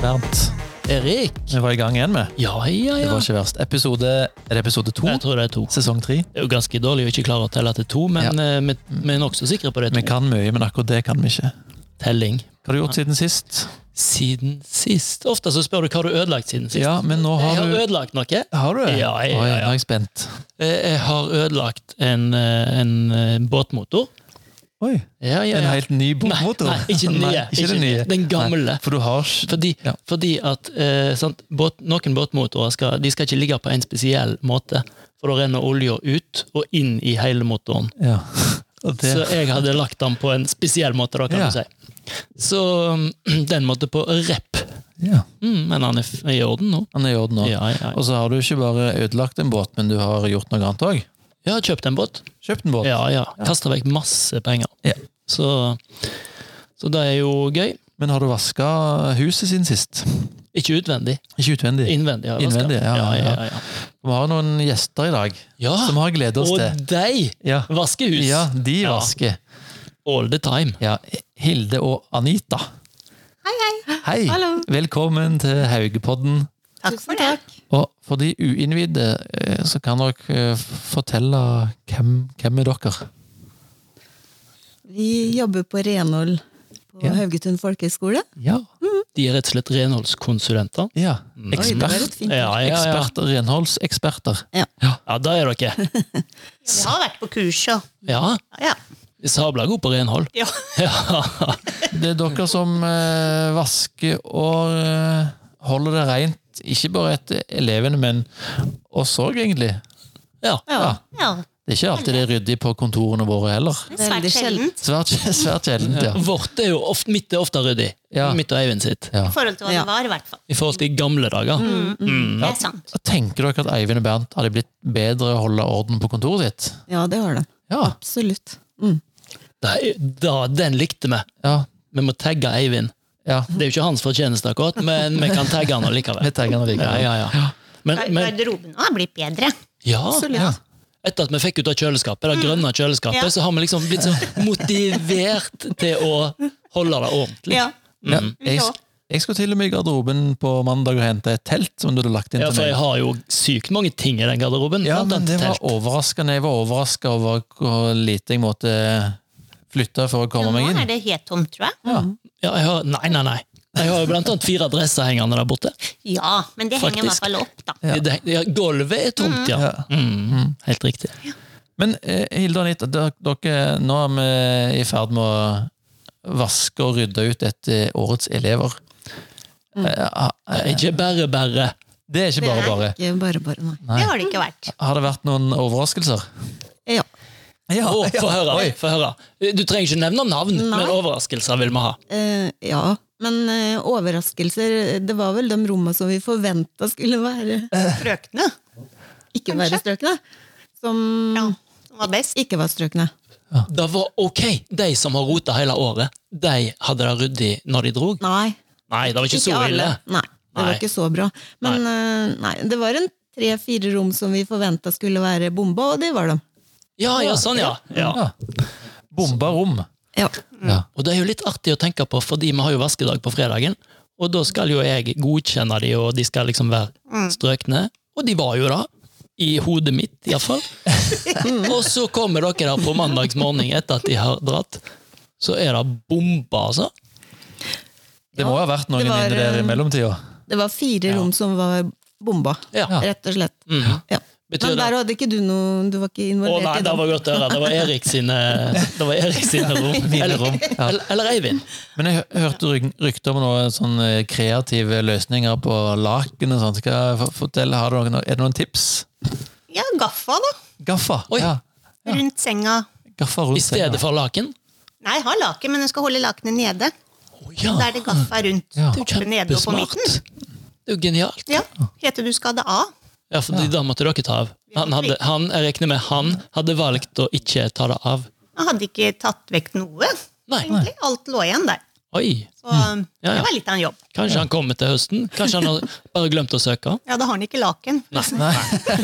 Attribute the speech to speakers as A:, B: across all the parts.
A: Bernt.
B: Erik!
A: Vi var i gang igjen med.
B: Ja, ja,
A: Det
B: ja.
A: var ikke verst. Episode, er det episode to?
B: Jeg tror det er to.
A: Sesong tre.
B: Det er jo ganske dårlig å ikke klare å telle til to, men eh, vi, vi er nokså sikre på det.
A: Vi
B: To.
A: kan mye, men akkurat det kan vi ikke.
B: Telling.
A: Hva har du gjort siden sist?
B: Siden sist. Ofte så spør du hva har du ødelagt siden sist.
A: Ja, men nå
B: jeg
A: har
B: har
A: du
B: ødelagt noe.
A: Har du det?
B: Ja, ja, ja,
A: Oi,
B: ja.
A: nå er jeg spent.
B: Eh, Jeg har ødelagt en, eh, en eh, båtmotor.
A: Oi.
B: Ja, ja, ja.
A: En helt ny
B: Nei,
A: båtmotor?
B: Nei, ikke den nye.
A: Nei, ikke den nye.
B: Den gamle.
A: For du har ikke
B: Fordi,
A: Ja.
B: fordi at eh, sant, båt, noen båtmotorer skal, de skal ikke ligge på en spesiell måte. For da renner olja ut og inn i hele motoren.
A: Ja. Og det,
B: Så jeg hadde lagt den på en spesiell måte, da, kan
A: eh, Ja.
B: du si. Så mm, den måtte på rep.
A: ja.
B: Mm, men han er f- i orden nå.
A: Han er i orden nå.
B: Ja, ja.
A: Og så har du ikke bare ødelagt en båt, men du har gjort noe annet òg.
B: Jeg har kjøpt en båt.
A: Kjøpt en båt.
B: Ja, ja. Kasta vekk masse penger.
A: Ja.
B: Så, så det er jo gøy.
A: Men har du vaska huset siden sist?
B: Ikke utvendig.
A: Ikke utvendig.
B: Innvendig. har jeg vasket.
A: Innvendig, ja, ja,
B: ja,
A: ja.
B: ja, ja.
A: Vi har noen gjester i dag
B: Ja,
A: som har gledet oss
B: Og
A: til.
B: de
A: Ja.
B: vasker hus
A: ja, de
B: Ja.
A: vasker.
B: all the time.
A: Ja, Hilde og Anita. Hei, hei.
C: Hallo.
A: Velkommen til Haugepodden.
C: Takk for det.
A: Og for de uinnvidde, eh, så kan dere eh, fortelle hvem, hvem er dere?
C: Vi jobber på renhold på
A: Ja.
C: Haugetun folkehøgskole.
A: Ja.
B: De er rett og slett renholdskonsulenter.
A: ja.
B: Mm.
C: Oi, det var
A: Ekspert,
C: et fint
B: Ja, ja, ja.
A: eksperter, renholdseksperter.
B: ja, da er dere.
D: Vi har vært på kurs, ja.
B: Ja,
D: ja.
B: sabla god på renhold.
D: Ja.
B: Ja.
A: Det er dere som eh, vasker og eh, holder det rent, ikke bare etter elevene, men oss òg, egentlig.
B: ja.
A: Ja.
D: ja.
A: Det er ikke alltid det er ryddig på kontorene våre heller.
D: Det er Svært
C: Veldig sjelden.
D: sjeldent
A: Svært, svært sjeldent, ja.
B: Vårt er jo ofte, mitt er ofte ryddig.
A: Ja.
B: Mitt og Eivind sitt.
A: ja.
D: i forhold til hva
C: Ja.
D: det var, i hvert fall. Mm.
B: I forhold til gamle dager.
A: Mm.
B: Mm.
D: Det er sant.
A: Tenker dere at Eivind og Bernt hadde blitt bedre å holde orden på kontoret sitt?
C: Ja, det har det.
A: Ja.
C: Absolutt. Mm.
B: Da, da, den likte vi.
A: ja,
B: Vi må tagge Eivind.
A: ja.
B: Det er jo ikke hans fortjeneste, akkurat, men vi kan tagge han allikevel.
A: Vi tenker det
B: Ja,
A: likevel.
B: ja, ja. Men, men
D: Garderoben har blitt bedre.
B: ja,
C: Absolutt.
A: Ja.
B: etter at vi fikk ut av kjøleskapet, det grønne kjøleskapet,
D: Ja.
B: så har vi liksom blitt så motivert til å holde det ordentlig.
D: Ja.
A: Ja.
B: Mm.
A: Jeg, sk- jeg skulle til og med i garderoben på mandag og hente et telt som du hadde lagt inn
B: Ja,
A: til
B: for jeg
A: meg.
B: har jo sykt mange ting i den garderoben.
A: Ja,
B: blant
A: men
B: annet
A: det var
B: telt.
A: overraskende. Jeg var overraska over hvor lite jeg måtte flytte for å komme
D: Nå
A: meg
D: er
A: inn.
D: det helt tomt, tror jeg.
A: Ja.
B: Ja, jeg har, nei, nei, nei. Jeg har jo blant annet fire dresser hengende der borte.
D: Ja, men det henger i
B: Faktisk.
D: hvert fall opp, da.
A: Ja.
B: Det, ja, gulvet er tomt, ja.
A: Ja.
B: Mm, helt riktig.
A: Men eh, Hilde og Anita, dere, dere, nå er vi i ferd med å vaske og rydde ut etter årets elever. Eh, ah, eh,
B: Ikke bare, bare.
A: Det er ikke bare bare.
C: Ikke bare, bare, nei.
A: Nei.
D: Det har det ikke vært.
A: Har det vært noen overraskelser?
C: Ja.
A: Ja,
B: Å, få høre,
A: Oi.
B: få høre. Eh, Du trenger ikke nevne navn,
C: Nei.
B: men overraskelser vil vi ha.
C: Eh, ja. Men eh, overraskelser Det var vel de rommene som vi forventa skulle
D: Eh,
C: være
D: Frøkene
C: ikke være strøkne. Som
D: ja, som var best.
C: ikke var strøkne.
B: Det var ok, de som har rota hele året, de hadde det ryddig når de drog.
C: Nei.
B: Nei, det var ikke så ille.
C: Nei, det
B: Nei.
C: var ikke så bra. Men eh, nei, det var en tre-fire rom som vi forventa skulle være bomba, og det var de.
B: Ja, ja, sånn, ja. ja.
A: Ja. Bomba rom.
C: Ja.
A: Ja.
B: Og det er jo litt artig å tenke på, fordi vi har jo vaskedag på fredagen, og da skal jo jeg godkjenne de, og de skal liksom være strøkne. Og de var jo da, i hodet mitt iallfall. og så kommer dere der på mandags morgen etter at de har dratt. Så er det bomba, altså.
A: Det må ha vært noen
C: det var,
A: inni der i
C: eh,
A: mellomtida.
C: Det var fire rom som var bomba,
B: Ja.
C: rett og slett.
B: Mhm.
C: Ja.
B: Betyr
C: Men
B: det
C: der hadde ikke du noe Du var ikke
B: Å
C: involvert
B: nei,
C: i
B: det
C: den.
B: var godt å høre. Det var Erik sine, det var Erik sine rom.
A: Mine
B: Eller,
A: rom, ja.
B: eller, eller Eivind.
A: Men jeg hø- hørte ryk- rykter om noen sånne kreative løsninger på laken og sånt. Skal jeg f- fortelle, har du noen, er det noen tips?
D: Ja, gaffa, da.
A: Gaffa.
B: Oi.
A: Ja.
D: Rundt senga.
A: Gaffa rundt
B: I stedet
A: senga.
B: for laken.
D: Nei, jeg har laken, men den skal holde lakenet nede.
B: Å ja,
D: Da er det gaffa rundt.
A: Ja.
B: det er jo
D: oppe, nede og på
B: kjempesmart. Det er jo genialt.
D: Ja, Helt til du skal ha det av.
B: Ja, for da måtte dere ta av. Han hadde, han, jeg regner med han hadde valgt å ikke ta det av.
D: Jeg hadde ikke tatt vekk noe.
B: Nei.
D: egentlig. Alt lå igjen der.
B: Oi.
D: Så um,
B: Ja, ja.
D: det var litt av en jobb.
B: Kanskje han kommer til høsten? Kanskje han har bare glemt å søke?
D: Ja, da har han ikke laken.
A: Nei,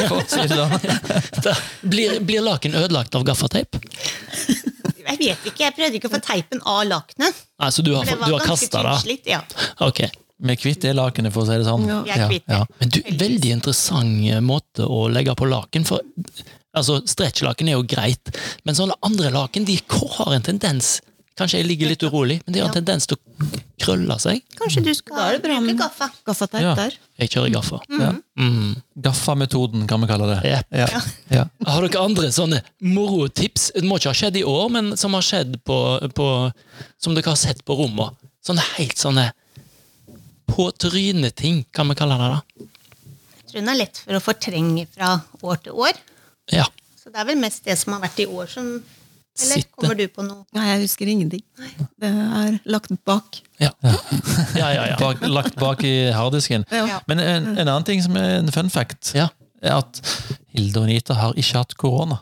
A: for å si det sånn.
B: Da Blir, blir laken ødelagt av gaffateip?
D: Jeg vet ikke, jeg prøvde ikke å få teipen av lakenet.
B: Nei, så Altså, du har,
D: for Det
B: du
D: var
B: har
D: ganske
B: kasta det?
D: tynnslitt. Ja.
B: Ok.
A: Vi er kvitt det lakenet, for å si det sånn.
C: Ja.
D: Vi er kvitt det.
A: Ja,
B: Men du, veldig interessant eh, måte å legge på laken, for altså, stretchlaken er jo greit, men sånne andre laken de k- har en tendens Kanskje jeg ligger litt urolig, men de har en tendens til å krølle seg.
D: Kanskje du
C: Da
D: skal
C: er det bra
D: bruke
C: med-
D: gaffa.
C: Gaffateip
A: Ja.
C: der.
B: Jeg kjører gaffa.
A: ja.
B: Mm.
A: Gaffa-metoden, kan vi kalle det.
B: Jepp.
A: Ja. Ja.
B: Har dere andre sånne morotips? Det må ikke ha skjedd i år, men som har skjedd på, på Som dere har sett på rommet. Sånne helt sånne på trynet-ting, kan vi kalle det da.
D: Jeg tror den er lett for å fortrenge fra år til år.
B: Ja.
D: Så det er vel mest det som har vært i år som Eller
B: Sitte.
D: kommer du på noe?
C: Nei, jeg husker ingenting. Det er lagt bak.
B: Ja, ja, ja. ja.
A: Bak, lagt bak i harddisken.
C: Ja.
A: Men en, en annen ting som er en fun fact,
B: ja.
A: er at Hilde og Anita har ikke hatt korona.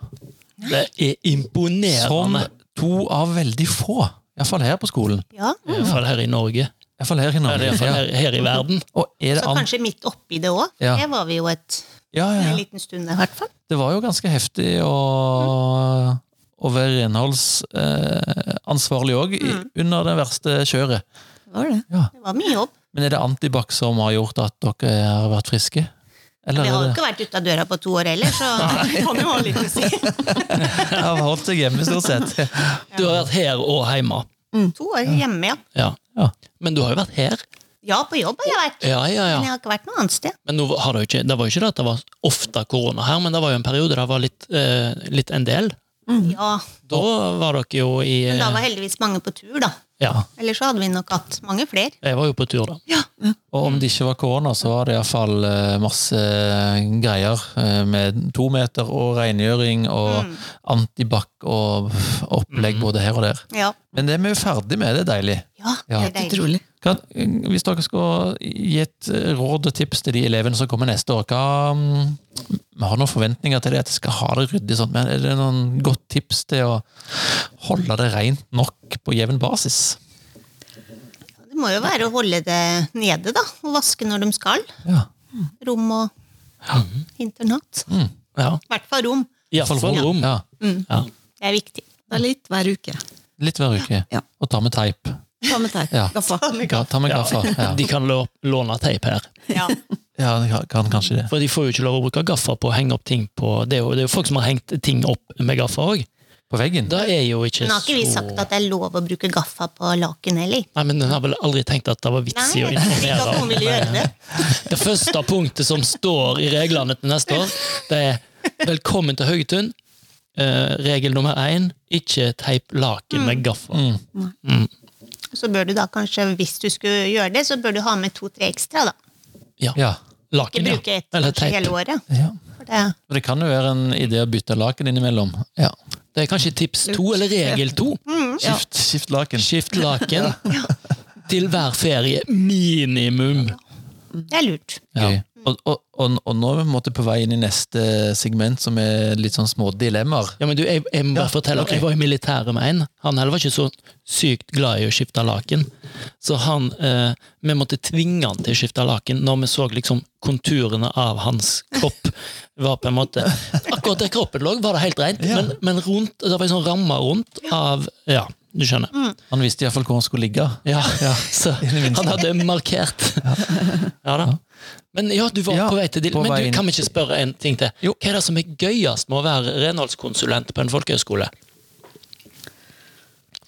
B: Det er
A: Som
B: imponerende.
A: to av veldig få. Iallfall her på skolen.
D: Ja.
B: I hvert fall her i Norge.
A: Iallfall her i
B: Eller i
A: Norge.
B: hvert fall
A: Ja.
B: her, her i verden.
A: Og er det
D: Så
A: an...
D: kanskje midt oppi det òg.
A: Ja.
D: Det var vi jo et,
A: ja, ja,
D: en
A: ja.
D: liten stund der, i hvert fall.
A: Det var jo ganske heftig å, å være eh, renholdsansvarlig òg,
D: Mm.
A: under det verste kjøret.
C: Det var det.
D: Det var mye jobb.
A: Men er det antibac som har gjort at dere har vært friske? Eller
D: Vi
A: er
D: har jo
A: det
D: ikke vært ute av døra på to år heller, så det kan jo ha litt å si.
A: Jeg har holdt seg hjemme, stort sett.
B: Du har vært her og hjemme.
D: To år hjemme, ja.
B: Ja.
A: Ja.
B: Men du har jo vært her.
D: Ja, på jobb har jeg vært,
B: Ja, ja, ja.
D: men jeg har ikke vært noe annet sted.
B: Men nå har det, jo ikke, det var jo ikke det at det var ofte korona her, men det var jo en periode der det var litt, eh, litt en del.
D: Ja,
B: Da var dere jo i
D: men da
B: eh,
D: var heldigvis mange på tur, da.
B: Ja.
D: Ellers så hadde vi nok hatt mange flere.
B: eh, Jeg var jo på tur, da.
A: Og om det ikke var korona, så var det iallfall eh, masse greier eh, med to meter og rengjøring og antibac og opplegg både her og der.
D: Ja,
A: Men det vi er ferdig med, det er deilig.
D: ja,
A: Ja.
D: det er
C: Helt
D: deilig.
C: utrolig.
A: Hva, hvis dere skal gi et eh, råd og tips til de elevene som kommer neste år, hva mm, Vi har noen forventninger til det, at de skal ha det ryddig, og sånt, men er det noen godt tips til å holde det rent nok på jevn basis?
D: Det må jo være å holde det nede, da. Og vaske når de skal.
A: Ja.
D: Rom og internat.
B: Mm.
D: I
B: Ja.
D: hvert fall rom.
B: Iallfall for rom.
A: Ja.
B: Sånn, Ja.
D: Det er viktig.
C: Det er litt hver uke.
A: Litt hver uke.
C: Ja.
A: Og ta med teip.
C: Ta med teip.
A: Ja.
C: Gaffa.
A: Ja, ta med gaffa. Ja.
B: De kan lå- låne teip her.
D: Ja.
A: ja, de kan- kan kanskje det.
B: For de får jo ikke lov å bruke gaffa på å henge opp ting på Det er jo, det er jo folk som har hengt ting opp med gaffa òg.
A: På veggen.
B: Det er jo ikke
D: Men har ikke vi
B: så
D: sagt at det er lov å bruke gaffa på laken heller?
B: Nei, men Den har vel aldri tenkt at det var vits i å
D: Nei, ikke
B: informere
D: at
B: om
D: noen vil gjøre det.
B: Det første punktet som står i reglene til neste år, det er 'velkommen til Haugetun'. Eh, regel nummer én ikke teip laken med gaffa.
D: Så bør du da kanskje, hvis du skulle gjøre det, så bør du ha med to-tre ekstra, da.
B: Ja.
A: Ja.
B: Laken,
D: Ikke
B: ja.
D: bruke ett
B: Eller
D: kanskje
B: teip.
D: hele året.
A: ja.
D: For det,
A: Og det kan jo være en idé å bytte laken innimellom. Ja.
B: Det er kanskje tips to, eller regel to.
A: Skift, skift laken.
B: Skift laken til hver ferie, minimum.
D: det er lurt.
A: Gøy. Mm. Og, og, og, og nå er vi på en måte på vei inn i neste segment, som er litt sånn små dilemmaer.
B: Ja, men du, jeg, jeg må bare
A: Ja,
B: fortelle,
A: ok.
B: jeg var i militæret med en. Han heller var ikke så sykt glad i å skifte laken. Så han, eh, vi måtte tvinge han til å skifte laken når vi så liksom konturene av hans kropp. var på en måte, Akkurat der kroppen lå, var det helt rent,
A: Ja.
B: men, men rundt, det var en sånn ramme rundt av Ja, du skjønner.
A: Han visste iallfall hvor han skulle ligge.
B: Ja, så Han hadde markert. Ja da. Men ja, du var
A: Ja,
B: på vei til
A: på
B: Dillen. Men
A: vei
B: du,
A: inn.
B: kan vi ikke spørre en ting til?
A: Jo.
B: Hva er det som er gøyest med å være renholdskonsulent på en folkehøyskole?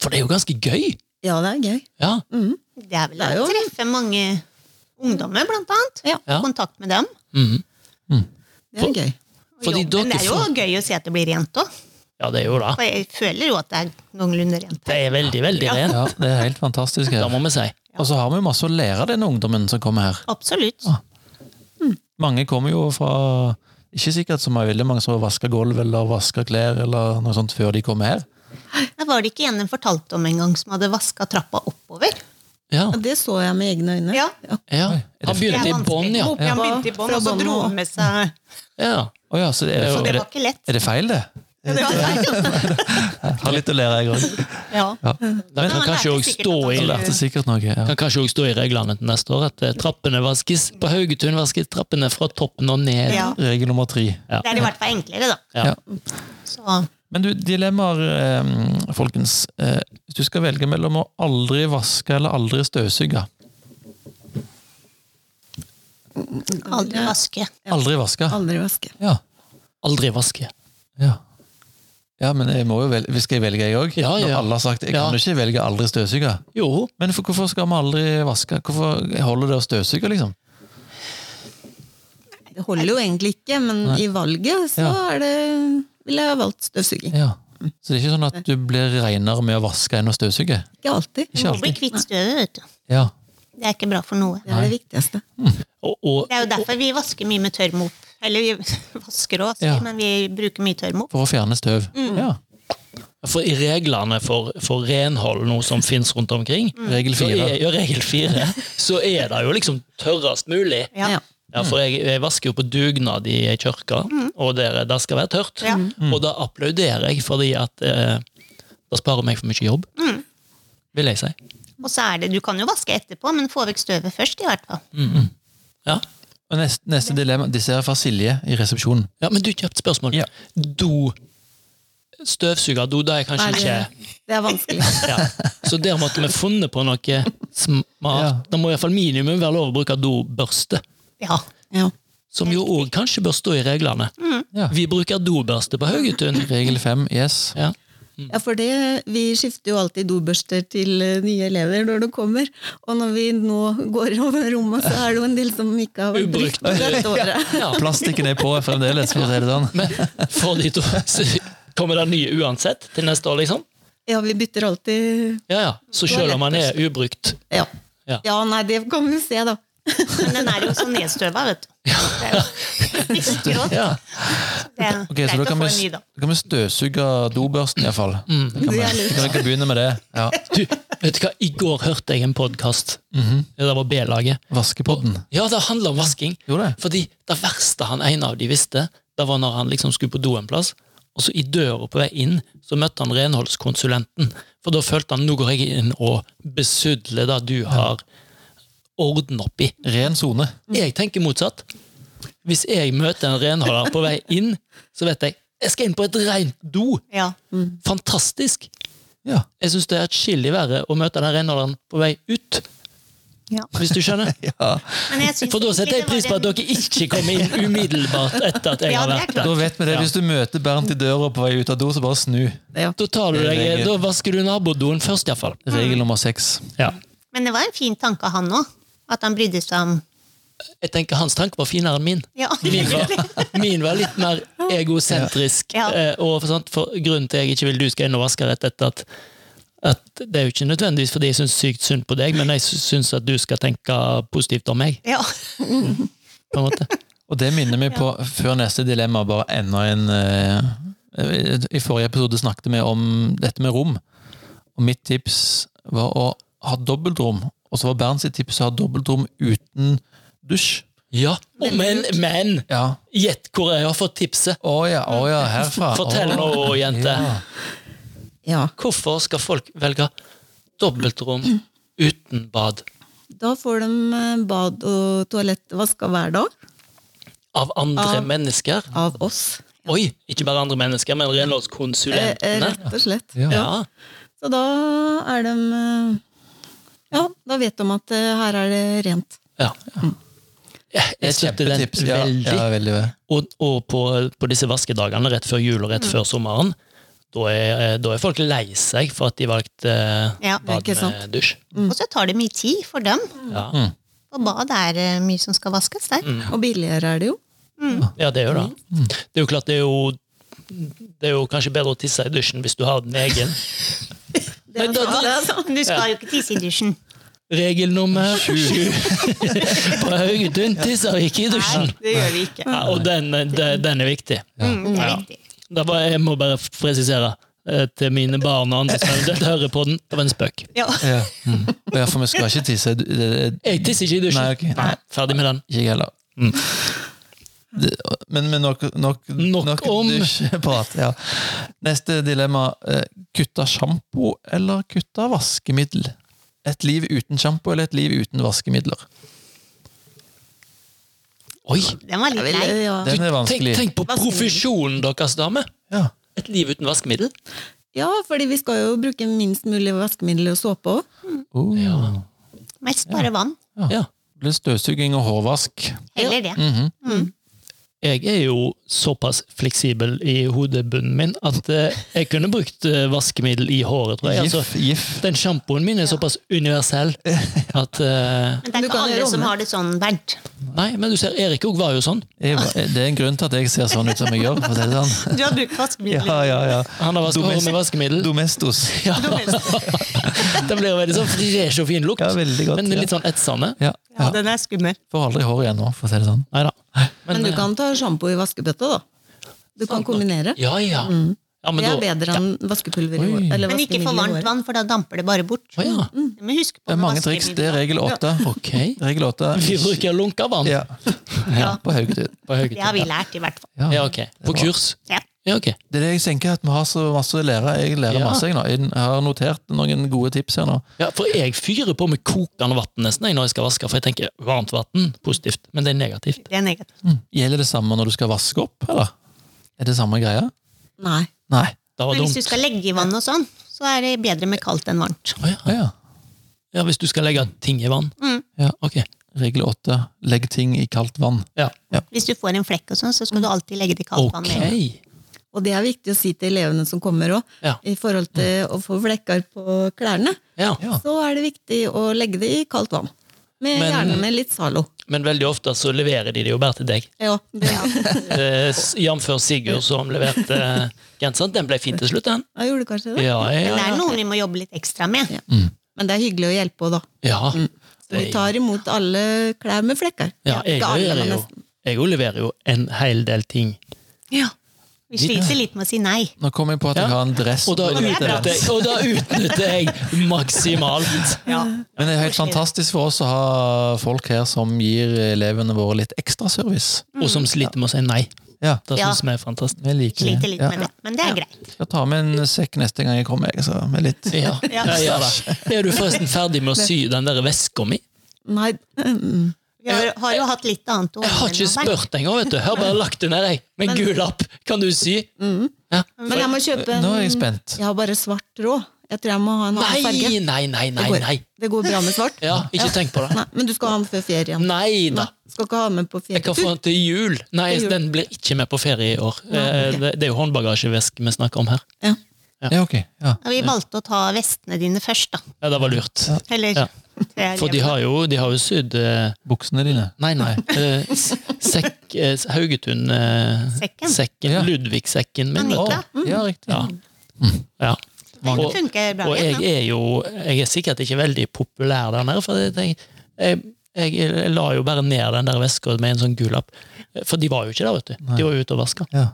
B: For det er jo ganske gøy!
C: Ja, det er gøy.
B: Ja,
D: Det er vel
C: Det er
D: å
C: jo-
D: treffe mange ungdommer, blant annet.
C: Ja.
B: Ja.
D: Kontakt med dem.
B: Mm.
C: Det er gøy.
D: Og
B: Fordi
D: jobben,
B: dere
D: det er jo
B: får-
D: gøy å se at det blir rent òg.
B: ja det er jo det.
D: Og jeg føler jo at det er noenlunde rent.
B: Det er veldig, veldig rent.
A: Ja, det er helt fantastisk
B: Det
A: her.
B: må vi si.
A: Og så har vi masse å lære av denne ungdommen som kommer her.
D: Absolutt.
A: Mange kommer jo fra Ikke sikkert så mange, veldig mange som har vaska gulv eller vaska klær eller noe sånt før de kommer her.
D: Det var det ikke en en fortalte om en gang, som hadde vaska trappa oppover.
B: Ja,
C: Ja, det så jeg med egne øyne.
D: Ja.
B: ja.
A: det
B: Han
D: Det er
B: begynte i
D: vanskelig.
B: bånn, ja.
D: Han begynte i bånn,
C: Fra
D: og så
C: bånn
D: dro
C: og-
D: han med seg
B: ja.
A: Å ja, så det er,
D: Så det
A: er,
D: var
A: det,
D: ikke lett.
A: er det feil, det?
D: Det var altså. feil.
A: Jeg har litt å lære, jeg òg.
D: Ja.
A: Ja.
B: Da
D: han
B: kan kanskje
D: lærte
B: òg
D: sikkert
B: stå
D: at
B: i
A: Jeg
D: han
A: lærte sikkert noe. Ja.
B: kan kanskje også stå i reglene til neste år at eh, trappene vaskes på Haugetun vaskes trappene fra toppen og ned.
D: Ja.
A: Regel nummer tre.
D: Det er i hvert fall enklere, da.
B: Ja.
D: Så
A: Men du, dilemmaer, eh, folkens. Eh, hvis du skal velge mellom å aldri vaske eller aldri støvsuge,
D: Aldri vaske.
A: Aldri vaska?
C: Aldri vaske.
A: Ja.
B: Aldri vaske.
A: ja. Ja, men jeg må jo velge, skal jeg velge, jeg òg?
B: Ja,
A: Når
B: ja.
A: alle har sagt jeg
B: Ja.
A: kan jo ikke velge aldri støvsuge.
B: Jo,
A: Men for, hvorfor skal vi aldri vaske? Hvorfor holder det å støvsuge, liksom?
C: Det holder jo egentlig ikke, men i valget så
A: Ja.
C: er det ville jeg ha valgt støvsuging.
A: Ja. Så det er ikke sånn at du blir renere med å vaske enn å støvsuge?
C: Ikke alltid.
A: Ikke
D: Du må bli
A: alltid.
D: kvitt støvet, vet du.
A: Ja.
D: Det er ikke bra for noe.
C: Det er det viktigste.
B: og, og
D: Det er jo derfor vi vasker mye med tørrmop. Eller vi vasker også,
A: Ja.
D: men vi bruker mye tørrmop.
A: For å fjerne støv.
B: Mm.
A: Ja.
B: For i reglene for, for renhold nå som finnes rundt omkring,
D: Mm.
A: Regel
B: så
A: fire.
B: er, ja, regel fire, så er det jo liksom tørrest mulig.
D: Ja.
C: Ja.
B: Ja, for jeg, jeg vasker jo på dugnad i kirka, og der, det skal være tørt.
D: Ja.
A: Mm.
B: Og da applauderer jeg, fordi at eh, det sparer meg for mye jobb. Vil jeg si.
D: Og så er det, du kan jo vaske etterpå, men få vekk støvet først, i hvert fall.
B: Mm. Ja.
A: Og neste, neste dilemma, disse er fra Silje i resepsjonen.
B: ja, men du kjøpte spørsmål.
A: Ja.
B: Do. Støvsuger, do, det er kanskje
C: Nei,
B: ikke
C: det, det er vanskelig.
B: ja. Så der måtte vi funnet på noe smart.
A: Ja.
B: Det må iallfall minimum være lov å bruke dobørste.
D: Ja.
C: Ja.
B: Som jo òg kanskje bør stå i reglene.
A: Ja.
B: Vi bruker dobørste på Haugetun.
A: Regel fem, yes.
B: Ja.
C: Ja, for det, Vi skifter jo alltid dobørster til eh, nye elever når de kommer. Og når vi nå går over rommet, så er det jo en del som ikke har vært
B: Ubrukt.
C: brukt på dette året.
B: Ja.
A: Plastikken er på fremdeles, for å si det sånn.
B: Men for de to så kommer det nye uansett til neste år, liksom?
C: Ja, vi bytter alltid
B: Ja, ja. Så selv om man er ubrukt
C: Ja.
B: Ja.
C: Ja, nei, det kan vi se, da.
D: Men den er jo så nedstøva, vet du. Det er jo ikke råd.
B: ja.
D: Det er
A: Ok, så
D: greit
A: da
D: å
A: kan
D: få
A: vi,
D: en ny, da.
A: da kan vi støvsuge dobørsten, iallfall. Mm. Kan vi,
C: Det er
A: vi
C: lurt.
A: kan ikke begynne med det. Ja.
B: du, Vet du hva, i går hørte jeg en podkast. Det var B-laget.
A: Vaskepodden.
B: Mhm. Ja, det handler om vasking.
A: Gjorde det?
B: Fordi det verste han ene av de visste, det var når han liksom skulle på do en plass, og så i døra på vei inn, så møtte han renholdskonsulenten. For da følte han nå går jeg inn og besudler det du har orden oppi.
A: Ren sone.
D: Mm.
B: Jeg tenker motsatt. Hvis jeg møter en renholder på vei inn, så vet jeg jeg skal inn på et rent do.
D: Ja.
B: Fantastisk!
A: Ja.
B: Jeg syns det er atskillig verre å møte den renholderen på vei ut,
D: ja.
B: hvis du skjønner.
A: ja.
D: Men jeg synes
B: For da
D: egentlig
B: setter jeg
D: det var
B: pris på at
D: en-
B: dere ikke kommer inn umiddelbart etter at jeg
D: Ja,
B: har
D: det er
B: vært
D: klart.
B: der.
A: Da vet vi det.
B: Ja.
A: Hvis du møter Bernt i døra på vei ut av do, så bare snu.
C: Ja.
B: Da tar du
A: Det er
B: deg,
A: regel.
B: da vasker du nabodoen først, iallfall.
A: Regel nummer seks.
B: Ja.
D: Men det var en fin tanke av han òg. At han brydde seg om
B: Jeg tenker Hans tanke var finere enn min.
D: Ja,
B: Min var, min var litt mer egosentrisk.
D: Ja.
B: eh, Og for, sant, for Grunnen til jeg ikke vil du skal inn og vaske rett etter at, at Det er jo ikke nødvendigvis fordi jeg syns sykt synd på deg, men jeg syns at du skal tenke positivt om meg.
D: ja.
B: på en måte.
A: Og det minner meg på, før neste dilemma, bare enda en eh, I forrige episode snakket vi om dette med rom. Og mitt tips var å ha dobbeltrom. Og så var Bernt sitt tips å ha dobbeltrom uten dusj.
B: Ja, Å, Men, men!
A: Ja.
B: Gjett hvor jeg har fått tipset!
A: Å ja, å ja, herfra.
B: Mm. Fortell
A: Å,
B: nå, jente.
A: Ja.
C: ja.
B: Hvorfor skal folk velge dobbeltrom uten bad?
C: Da får de eh, bad og toalett vaska hver dag
B: Av andre
C: Av-
B: mennesker?
C: av oss.
B: Oi! Ikke bare andre mennesker, men
C: Eh, eh,
B: renholdskonsulentene.
C: Rett og slett.
A: Ja.
B: Ja.
C: Så da er de eh, Ja, da vet de at eh, her er det rent.
B: ja. Jeg, jeg støtter den
A: Mm. Kjempetips. Ja,
B: veldig.
A: ja, veldig.
B: Og, og på, på disse vaskedagene rett før jul og rett
D: Mm.
B: før sommeren, da er, eh, da er folk lei seg for at de valgte eh,
D: Ja, det er Mm.
B: bad
C: ikke sant.
B: med dusj.
C: Mm.
D: Og så tar det mye tid for dem.
B: Ja.
A: Mm.
D: Og bad er eh, mye som skal vaskes der.
B: Mm.
C: Og billigere er det jo.
B: ja, det er jo det.
A: Mm.
B: Det er jo klart, det er jo det er jo kanskje bedre å tisse i dusjen hvis du har den egen.
C: Det
B: Men da-
C: sant, det altså. sant.
D: Men du skal jo ikke tisse i dusjen.
B: Regel nummer sju på Haugetun tisser ikke i dusjen.
D: det gjør vi ikke.
B: Ja, og den, den, den er viktig.
D: Mm, det er
B: Ja.
D: viktig.
B: Det var, jeg må bare presisere eh, til mine barn og andre som eventuelt hører på den. Det var en spøk.
D: Ja.
A: Ja. Mm. ja, for vi skal ikke tisse. Det- det-
B: Jeg tisser ikke i dusjen. Mm.
A: Nei, ok. Nei.
B: Ferdig med den.
A: Ikke jeg heller. Det, men men nok, nok,
B: Nok om-
A: dusjprat. Ja. Neste dilemma. eh, Kutta sjampo eller kutta vaskemiddel? Et liv uten sjampo eller et liv uten vaskemidler?
B: Oi!
D: Den var
C: Jeg
D: litt
C: vil,
D: lei.
C: eh, ja.
A: Den er
B: Tenk,
A: vanskelig.
B: tenk på profesjonen deres, dame!
A: Ja.
B: Et liv uten vaskemiddel.
C: ja, fordi vi skal jo bruke minst mulig vaskemiddel og såpe òg.
A: Oh.
D: Mest bare vann.
B: Ja.
A: Pluss støvsuging og hårvask.
D: Heller det.
A: Mhm.
B: Jeg er jo såpass fleksibel i hodebunnen min at eh, jeg kunne brukt eh, vaskemiddel i håret, tror jeg. Altså,
A: Gif, gif.
B: den sjampoen min er såpass universell at eh,
D: Men det er
C: Du
D: ikke
C: kan
D: alle
C: gjøre
D: som
C: om.
D: har det sånn, Bernt.
B: Nei, men du ser, Erik òg var jo sånn.
A: Jeg, var- det er en grunn til at jeg ser sånn ut som jeg gjør. For å si det sånn.
D: Du har brukt vaskemiddel.
A: Ja, ja, ja.
B: Han har vasket håret med vaskemiddel.
A: Domestos.
B: Ja. Den blir jo veldig sånn fresh og fin lukt,
A: Ja, veldig godt.
B: men
A: ja.
B: litt sånn etsende.
A: Ja, ja.
D: den er skummel.
A: Får aldri hår igjen nå, for å si det sånn.
B: Neida.
C: Men du
B: eh,
C: kan ta sjampo i vaskebøtta, da. Du kan kombinere.
B: Ja, ja.
D: Mm.
B: ja men
C: Det er
B: da,
C: bedre enn vaskepulver i
A: Oi.
C: håret. eller
D: Men ikke for
C: vaskemiddel i
D: varmt
C: håret.
D: vann, for da damper det bare bort.
B: Å, ja.
D: Det må vi huske på
A: Det er
D: med
A: mange triks. Det er
D: vaskemiddel.
A: regel åtte.
B: Ok.
A: Regel åtte.
B: Vi bruker lunkavann
A: Ja.
D: Ja.
A: På Haugetid.
B: på
D: Det
B: høytid.
D: har vi lært, i hvert fall.
A: Ja.
B: Ja, ok. På kurs?
D: Ja.
B: Ja, ok.
A: Det er det jeg tenker, at vi har så masse å lære. Jeg lærer
B: Ja.
A: masse, jeg nå. Jeg har notert noen gode tips her nå.
B: Ja, for jeg fyrer på med kokende vann nesten jeg, når jeg skal vaske, for jeg tenker varmt vann, positivt, men det er negativt.
D: Det er negativt.
A: Gjelder det samme når du skal vaske opp, eller? Er det samme greia?
C: Nei.
A: Nei.
B: Det var
D: Men hvis
B: dumt.
D: du skal legge i vann og sånn, så er det bedre med kaldt enn varmt.
B: Å, ja.
A: Å ja.
B: ja, hvis du skal legge ting i vann. Ja, ok.
A: Regel åtte. Legg ting i kaldt vann.
B: Ja.
D: Hvis du får en flekk og sånn, så skal du alltid legge det i kaldt vann.
B: Ok.
D: med.
C: Og det er viktig å si til elevene som kommer òg,
B: Ja. Mm.
C: i forhold til å få flekker på klærne.
B: Ja.
A: Ja.
C: Så er det viktig å legge det i kaldt vann. Med,
B: Men-
C: gjerne med litt Zalo.
B: Men veldig ofte så leverer de det jo bare til deg.
C: Ja, det
B: Eh, s- Jamfør Sigurd som leverte eh, genseren. Den ble fin til slutt, den.
C: jeg gjorde kanskje det.
B: Ja,
D: Men det
B: ja,
D: er
B: ja.
D: noen vi må jobbe litt ekstra med.
C: Ja. Men det er hyggelig å hjelpe òg, da.
B: ja.
D: Mm.
C: Så vi
B: Det-
C: tar imot alle klær med flekker.
B: ja jeg,
C: Ikke alle,
B: leverer
C: men
B: jo,
C: nesten.
B: jeg jo leverer jo en hel del ting.
D: Vi sliter litt med å si nei.
A: Nå kom jeg på at jeg
B: Ja.
A: har en dress.
B: Og da
A: på dette.
B: utnytter jeg, og da utnytter jeg maksimalt.
A: Men det er helt fantastisk for oss å ha folk her som gir elevene våre litt ekstra service.
C: Mm.
B: Og som sliter med å si nei.
A: Ja,
B: Det
D: Ja.
B: syns vi er fantastisk.
A: vi liker
D: Sliter
A: det.
D: litt med
A: Ja.
D: det. Men det er greit.
A: Skal ta med en sekk neste gang jeg kommer, jeg, så med litt
B: Ja, jeg gjør det. Er du forresten ferdig med å sy den der veska mi?
C: Nei, mm,
D: Vi har, har jo hatt litt annet å
B: Jeg har ikke
D: ordne med.
B: spurt engang, vet du. Jeg har bare lagt det ned, jeg. Med en gul lapp. Kan du sy?
C: Mm.
B: Ja.
C: men jeg må kjøpe en
A: Nå er jeg spent.
C: Jeg har bare svart råd. Jeg tror jeg må ha en
B: Nei,
C: annen farge.
B: nei, nei, nei.
C: Det går,
B: nei.
C: det går bra med svart.
B: Ja, ikke tenk på det.
C: Nei, men du skal ha den før ferien.
B: Nei da.
C: Skal ikke ha med på
B: Jeg kan
C: ferietur.
B: få den til jul. Nei,
C: Til jul.
B: den blir ikke med på ferie i år. Eh,
C: ok.
B: Det det er jo håndbagasjeveske vi snakker om her.
C: Ja.
A: Ja, ok. Ja.
D: Ja, Vi valgte å ta vestene dine først, da.
B: Ja, det var lurt.
D: Eller
B: Ja.
D: tre
B: For de har jo, de har jo sydd eh,
A: Buksene dine.
B: Nei, nei. eh, s- Sekk eh,
D: Sekken.
B: Haugetun-sekken.
A: Ja.
B: Ludvig-sekken min.
D: Anita.
B: vet du.
A: Å, ja, riktig.
B: Ja.
D: Mm.
B: Mm. ja.
D: Det
B: Og,
D: funker bra
B: og jeg
D: igjen. da.
B: er jo jeg er sikkert ikke veldig populær der nede, for jeg, jeg, jeg, jeg la jo bare ned den der veska med en sånn gul lapp. For de var jo ikke der, vet du. De var jo ute og vaska.
A: Ja.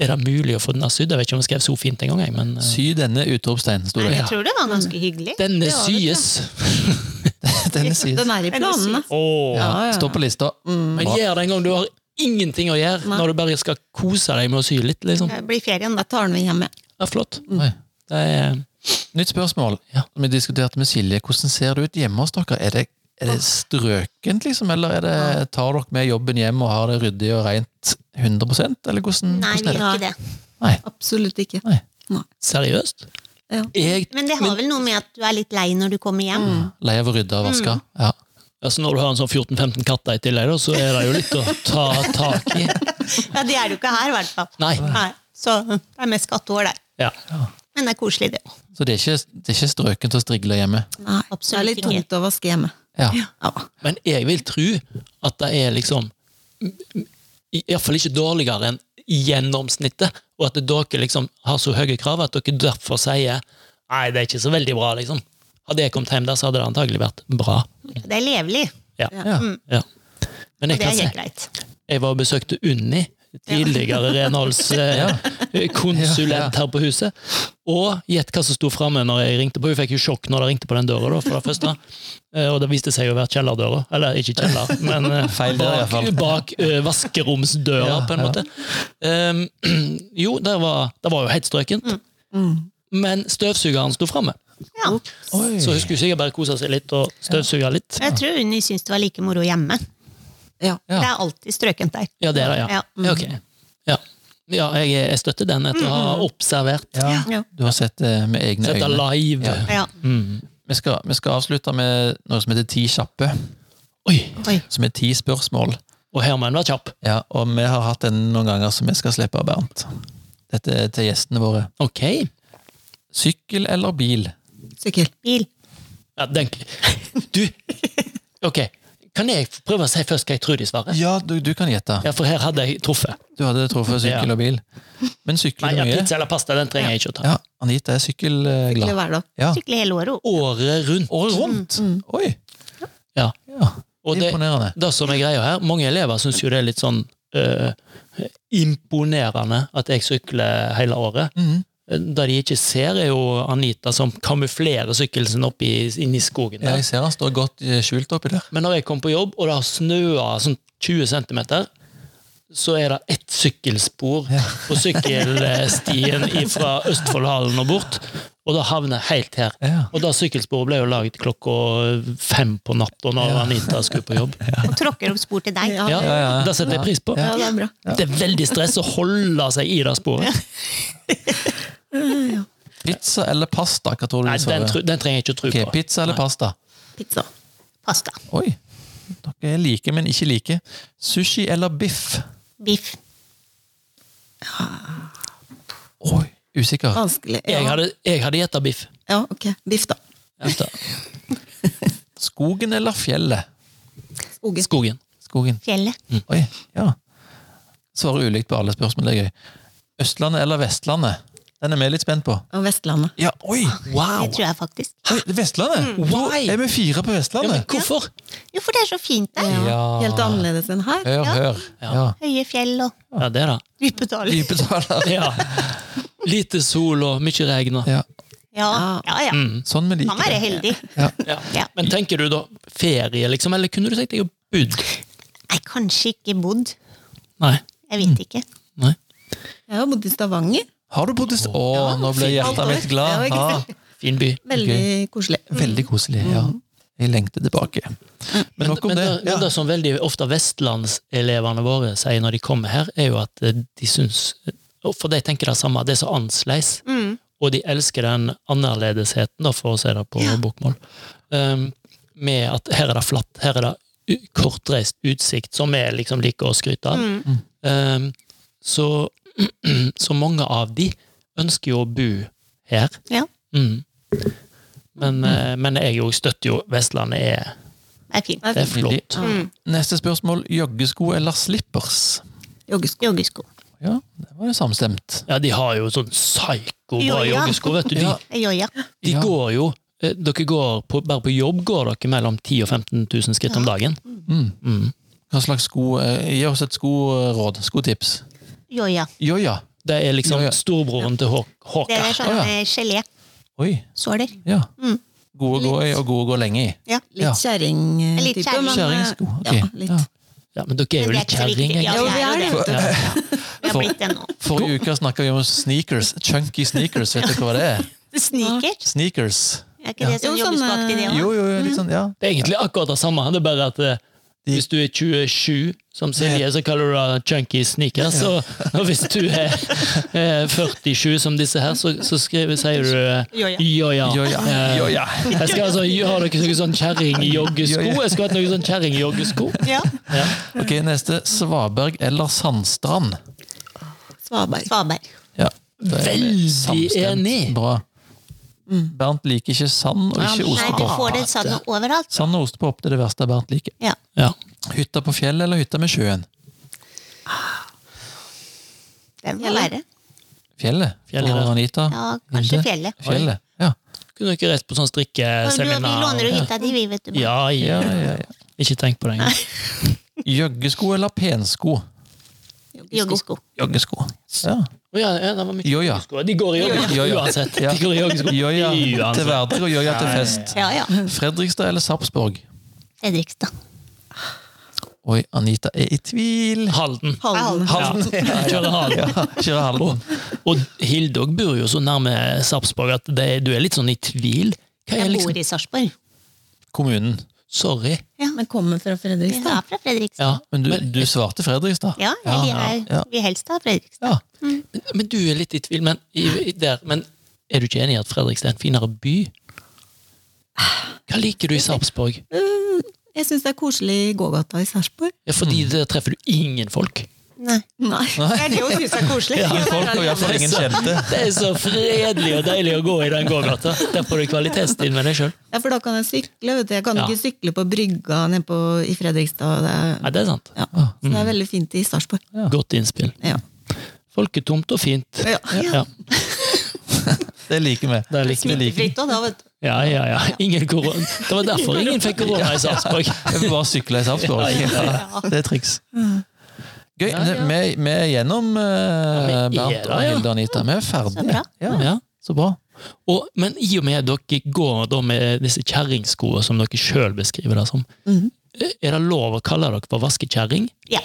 B: Er det mulig å få den her sydd? Jeg vet ikke om jeg skrev så fint engang, jeg, men eh,
A: Sy denne utropstegn, sto
D: Nei,
A: det.
D: Jeg tror det var
B: Mm.
D: ganske hyggelig.
B: denne syes!
A: Denne sies.
C: Den er i planene.
B: Åh.
C: Ja, ja.
A: Står på lista. Mm.
B: Men
A: Bra.
B: gjør det en gang du har ingenting å gjøre,
C: Nei.
B: når du bare skal kose deg med å sy litt, liksom.
D: Det blir ferien, da.
C: Jeg tar den med hjem, jeg.
B: Det er flott.
D: Mm.
A: Oi.
B: Det er
A: Nytt spørsmål.
B: Ja.
A: Vi diskuterte med Silje. Hvordan ser det ut hjemme hos dere? Er det, er det strøkent, liksom? Eller er det, tar dere med jobben hjem og har det ryddig og rent 100 Eller hvordan,
D: Nei, vi
A: hvordan er det?
D: gjør ikke det.
A: Nei.
C: Absolutt ikke.
A: Nei.
B: Seriøst?
C: Ja.
B: Jeg,
D: Men det har vel noe med at du er litt lei når du kommer hjem.
B: Mm.
A: Lei av å rydde og vaske? Ja.
B: altså når du har en sånn 14-15 katter i tillegg, da, så er det jo litt å ta tak i.
D: Ja, Det er du ikke her, i hvert fall.
B: Nei.
D: Nei. Så det er mest kattehår der.
B: Ja.
D: Men det er koselig, det.
A: Så det er, ikke, det er ikke strøkent å strigle hjemme?
C: Nei. Det er
D: Absolutt
C: litt
D: ikke.
C: tungt å vaske hjemme.
A: Ja.
C: Ja.
B: Men jeg vil tro at det er liksom Iallfall ikke dårligere enn gjennomsnittet, og at dere liksom har så høye krav at dere derfor sier nei, det er ikke så veldig bra, liksom. Hadde jeg kommet hjem der, så hadde det antagelig vært bra.
D: Det er levelig.
B: Ja.
A: ja.
B: ja. Men jeg
D: Og det
B: kan
D: er
B: si
D: helt greit.
B: Jeg var og besøkte Unni, tidligere renholdskonsulent her på huset. Og gjett hva som sto framme når jeg ringte på. Hun fikk jo sjokk når det ringte på den døra, da, for det første. Eh, Og det viste seg å være kjellerdøra. Eller ikke kjeller, men eh,
A: Feil dør, i hvert
B: bak,
A: fall.
B: bak eh, vaskeromsdøra,
A: Ja,
B: på en måte. Ehm, jo, det var, det var jo helt strøkent. Men støvsugeren sto framme.
D: Ja.
A: Oi.
B: Så hun skulle sikkert bare kose seg litt og støvsuge litt.
D: Jeg tror Unni syns det var like moro hjemme.
A: Ja.
C: Ja.
D: Det er alltid strøkent der.
B: Ja, det er det, ja.
D: Ja.
B: Ja, ok. ja. ja jeg, jeg støtter den etter å ha observert.
A: Ja.
D: Ja.
A: Du har sett det med egne
B: Sett det
A: øyne.
B: live.
A: Ja.
D: Ja.
A: Vi skal, vi skal avslutte med noe som heter Ti kjappe.
B: Oi!
D: Oi.
A: som er ti spørsmål.
B: Og her må en være kjapp.
A: Ja, og vi har hatt den noen ganger, så vi skal slippe av Bernt. Dette er til gjestene våre.
B: Ok.
A: Sykkel eller bil?
C: Sykkel.
D: Bil.
B: Ja, den, du, ok. Kan jeg prøve å si først hva jeg tror de svarer?
A: Ja, du, du kan gjette.
B: Ja, for her hadde jeg truffet.
A: Du hadde truffet sykkel
B: Ja.
A: og bil. Men
B: Nei,
A: sykler du
B: ja,
A: mye?
B: pizza eller pasta, den trenger jeg ikke å ta.
A: Ja, Anita er
C: Sykle
A: sykkelglad.
C: hver dag.
A: Ja.
D: Sykle hele året.
B: Året rundt.
A: Året rundt! Oi!
B: Ja.
A: Ja,
B: Og det,
A: Imponerende.
B: det som er greia her, mange elever syns jo det er litt sånn eh, imponerende at jeg sykler hele året.
A: Mhm.
B: Det de ikke ser, er jo Anita som kamuflerer sykkelen sin opp i, inn i skogen.
A: Ja,
B: Der.
A: jeg ser han står godt eh, skjult oppi der.
B: Men når jeg kom på jobb, og det har snøa sånn 20 cm, så er det ett sykkelspor på sykkelstien fra Østfoldhallen og bort, og det havner helt her.
A: Ja.
B: Og da sykkelsporet ble jo laget klokka fem på natta når Anita skulle på jobb.
D: Og tråkker opp spor til deg.
C: Ja,
B: Ja,
A: Ja, ja, ja.
B: Det setter jeg pris på.
C: ja det er bra.
B: Det er veldig stress å holde seg i det sporet.
A: Pizza eller pasta? Hva tror du
B: Nei,
A: de
B: den,
A: svarer?
B: tru- den trenger jeg ikke å tro
A: Ok,
B: på.
A: pizza eller pasta?
C: Pizza.
D: Pasta.
A: Oi. Dere er like, men ikke like. Sushi eller biff?
D: Biff.
A: Oi, usikker.
C: Vanskelig.
B: Jeg
C: Ja,
B: hadde, jeg hadde gjetta biff.
C: ja ok. Biff, da.
A: Biff, da. Skogen eller fjellet?
C: Skogen.
B: Skogen.
A: Skogen.
D: Fjellet.
B: Mm.
A: Oi, ja. Svarer ulikt på alle spørsmål, det er gøy. Østlandet eller Vestlandet? Den er vi litt spent på.
C: Og Vestlandet.
A: Ja, oi!
B: Ah, Wow!
D: Det tror jeg faktisk.
A: oi det er Vestlandet!
B: Mm, Why?
A: Er vi fire på
B: Ja, men
A: Vestlandet?
B: hvorfor?
D: Jo, for det er så fint der.
A: Ja.
C: Helt annerledes enn her.
A: Hør,
D: Ja.
A: hør. Ja.
D: Høye fjell og
B: Ja, det da.
D: dype daler.
A: Dype daler.
B: Ja. Lite sol og mye regn. og-
A: Ja.
D: Ja, ja. ja.
A: Sånn vi
D: Man
A: liker
D: er
A: det.
D: heldig. Ja.
B: Men tenker du da ferie, liksom? Eller kunne du tenkt deg å bodd?
D: Nei, kanskje ikke bodd.
B: Nei.
D: Jeg vet ikke.
B: Nei.
C: Jeg har bodd i Stavanger.
A: Har du bodd i Å, nå ble
C: fint.
A: hjertet mitt glad.
C: Ja, ikke
A: Ja.
B: Fin by.
C: Veldig koselig.
A: Veldig koselig. ja. Jeg lengter tilbake. Men nok om
B: men
A: det.
B: det,
A: Ja.
B: men det som veldig ofte vestlandselevene våre sier når de kommer her, er jo at eh, de syns og For de tenker det samme, det er så annerledes.
C: Mm.
B: Og de elsker den annerledesheten, da, for å si det på bokmål. Um, med at her er det flatt, her er det u- kortreist utsikt, som vi liksom liker å skryte av. Um, så, så mange av de ønsker jo å bo her.
D: Ja,
B: Mm. Men, eh, men jeg jo støtter jo Vestlandet er,
D: det er fint. Mm.
C: Det
B: det
C: er
B: er
C: fint. Mm.
A: Nydelig.
B: flott.
A: Neste spørsmål. Joggesko eller slippers?
C: Joggesko.
D: Joggesko.
A: Ja, det var jo samstemt.
B: Ja, de har jo sånn psyko-bra
D: Joja.
B: joggesko, vet du. De,
A: Ja.
D: Joja.
B: de
A: Ja.
B: går jo eh, dere går på, Bare på jobb går dere mellom 10 000 og 15 000 skritt om dagen. Mm.
A: Hva slags sko eh, Gi oss et skoråd. Skotips.
D: Joja.
A: Joja.
B: Det er liksom
A: Joja.
B: storebroren til Hå-
D: Det
B: Håka.
D: er sånne gelésåler.
A: Oi. Ja.
D: Mm.
A: Gode å gå i, og gode å gå lenge i.
D: Ja.
A: Ja.
C: Litt kjerringtype.
D: Litt kjerring.
C: men, eh,
A: Kjerringsko. Ok.
C: Ja, litt.
A: Ja.
B: Ja, men dere er jo
D: sånn- Men det er
B: litt
D: ikke så viktig.
B: kjerringer.
D: Ja,
C: Jo,
D: vi
C: vi
D: er
C: er
D: jo
C: det.
D: Vi har
A: For-
D: blitt det nå.
A: Forrige uke snakka vi om sneakers. Chunky sneakers, vet du hva det er?
D: Sneakers.
A: Sneakers.
D: Er ikke det
C: Jo,
D: sånn
C: sånne-
D: joggeskoaktig, det òg?
A: Jo, jo, jo, litt sånn, ja.
B: Det er egentlig akkurat det samme, det er bare at eh,
A: De-
B: hvis du er 27, som Silje, så kaller du det chunky sneakers. Og, og hvis du er eh, 47, som disse her, så, så skriver, sier du eh,
D: Joja.
B: joja.
A: Joja.
B: Eh,
A: Joja.
B: Jeg skal altså ha dere noen sånn kjerringjoggesko.
A: Joja.
B: Jeg skulle hatt noen sånn kjerringjoggesko.
D: Ja.
B: Ja.
A: Ok, neste. Svaberg eller Sandstrand?
C: Svaberg.
D: Svaberg.
A: Ja, det er vi
B: Veldig
A: samstemt
B: enig.
A: Bra. Bernt liker ikke sand og
B: Nei,
A: ikke
B: nei,
D: Mm. Nei, du
A: ostepop.
D: får det sånn overalt.
A: Sand og ostepop det er det verste Bernt liker.
D: Ja.
B: Ja.
A: Hytta på fjellet eller hytta med sjøen?
D: Det må
C: Fjellet.
D: være.
A: Fjellet.
B: Fjellet,
A: for
B: ja.
A: Anita.
D: Ja, kanskje
A: Hilde.
D: fjellet.
A: Fjellet, ja.
B: Kunne dere reist på sånn
D: Men du, Vi
B: strikkeseminar?
D: låner jo hytta di, vi, vet du.
B: Ja,
A: ja,
B: ja.
A: ja, ja.
B: Ikke tenk på det engang.
A: Joggesko eller pensko?
D: Joggesko.
A: Joggesko. Ja.
B: Å ja, ja, det var mye
A: Joja.
B: joggesko. De går i joggesko
A: Joja.
B: uansett.
A: Ja.
B: De går i joggesko
A: Joja til
B: uansett.
A: hverdag og joja til fest.
D: Ja, ja.
A: Fredrikstad eller Sarpsborg?
D: Fredrikstad.
A: Oi, Anita er i tvil.
B: Halden.
C: Halden.
A: Halden. Ja,
B: Kjører Halden.
A: ja. Kjører Halden.
B: Og Hilde også bor jo så nærme Sarpsborg at det, du er litt sånn i tvil. Hva er
D: Jeg
B: liksom
D: bor i Sarpsborg.
A: Kommunen.
B: Sorry.
C: Men kommer fra
D: Jeg
C: Fredrikstad.
D: er fra Fredrikstad.
B: Ja,
A: Men du, du svarte Fredrikstad?
D: Ja, eller
A: ja.
D: jeg vil helst ha Fredrikstad.
A: Ja.
B: men, men du er litt i tvil. Men, i, i der, men er du ikke enig i at Fredrikstad er en finere by? Hva liker du i Sarpsborg?
C: Jeg syns det er koselig i gågata i Sarpsborg.
B: Ja, fordi
A: Mm.
B: der treffer du ingen folk.
D: Nei.
C: Nei.
D: Det er det hun syns er koselig.
A: Ingen folk, og iallfall ingen kjente.
B: Det er så fredelig og deilig å gå i den gågata. Der får du kvalitetstid med deg sjøl.
C: Ja, for da kan jeg sykle. vet du. Jeg kan
B: Ja.
C: ikke sykle på brygga nede på, i Fredrikstad. Det er,
B: Ja, det er sant.
C: ja. Så det er
B: mm.
C: veldig fint i Sarpsborg.
B: Godt innspill.
C: Ja.
B: Folketomt og fint.
C: Ja.
B: Ja,
A: Det liker vi.
B: det liker vi.
D: Smittefritt òg, da, vet du.
B: Ja, ja, ja. Ingen korona. Det var derfor ingen fikk korona i Sarpsborg.
A: Jeg vil bare sykle i Sarpsborg. Ja, det er triks. Gøy.
B: Ja, ja.
A: Vi, vi er gjennom, eh,
B: Ja, vi er
A: Bernt
B: da,
A: og
B: ja.
A: Hilde og Anita. Vi er
D: Så
A: ferdige.
D: bra.
A: Ja,
B: Ja.
A: så bra.
B: Og, men i og med at dere går da med disse kjerringskoene som dere sjøl beskriver det som, er det lov å kalle dere for vaskekjerring?
D: Ja.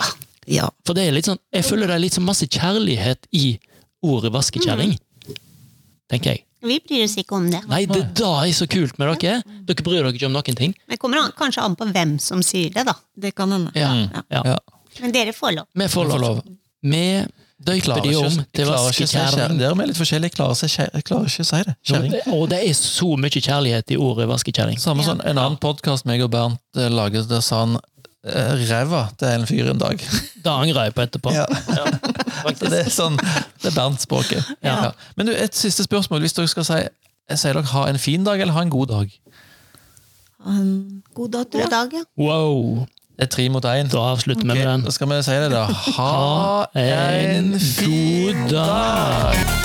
C: ja.
B: For det er litt sånn, jeg føler det er litt sånn masse kjærlighet i ordet vaskekjerring. Tenker jeg.
D: Vi bryr oss ikke om det.
B: Nei, det da er så kult med dere. Dere bryr dere ikke om noen ting.
D: Det kommer an, kanskje an på hvem som sier det, da.
C: Det kan hende.
B: Ja. ja.
A: Ja.
D: Men dere får lov.
B: Vi får
A: Vi får
B: lov.
A: lov.
B: Vi
A: Klarer
B: døyper de om
A: ikke-
B: til
A: klarer ikke å si kjerring.
B: vaskekjerring.
A: Der er vi litt forskjellige. Klarer, seg, kjer- klarer ikke å si det. Kjerring.
B: Og det er så mye kjærlighet i ordet vaskekjerring.
A: Samme som en annen podkast meg og Bernt eh, laget, der sa han eh, ræva til en fyr en dag.
B: Da angrer jeg på etterpå.
A: Ja. Så
B: faktisk.
A: det er sånn, det er Bernt-språket.
B: Ja.
A: Ja. Men du, et siste spørsmål. Hvis dere skal si Sier dere ha en fin dag eller ha en god dag?
C: Um, god dag, tror
D: God
C: jeg.
D: dag, ja.
B: Wow!
A: Det er tre mot én.
B: Da avslutter vi
A: Ok,
B: med den.
A: Da skal vi si det, da. Ha en
B: en
A: fin
B: god dag.
A: dag!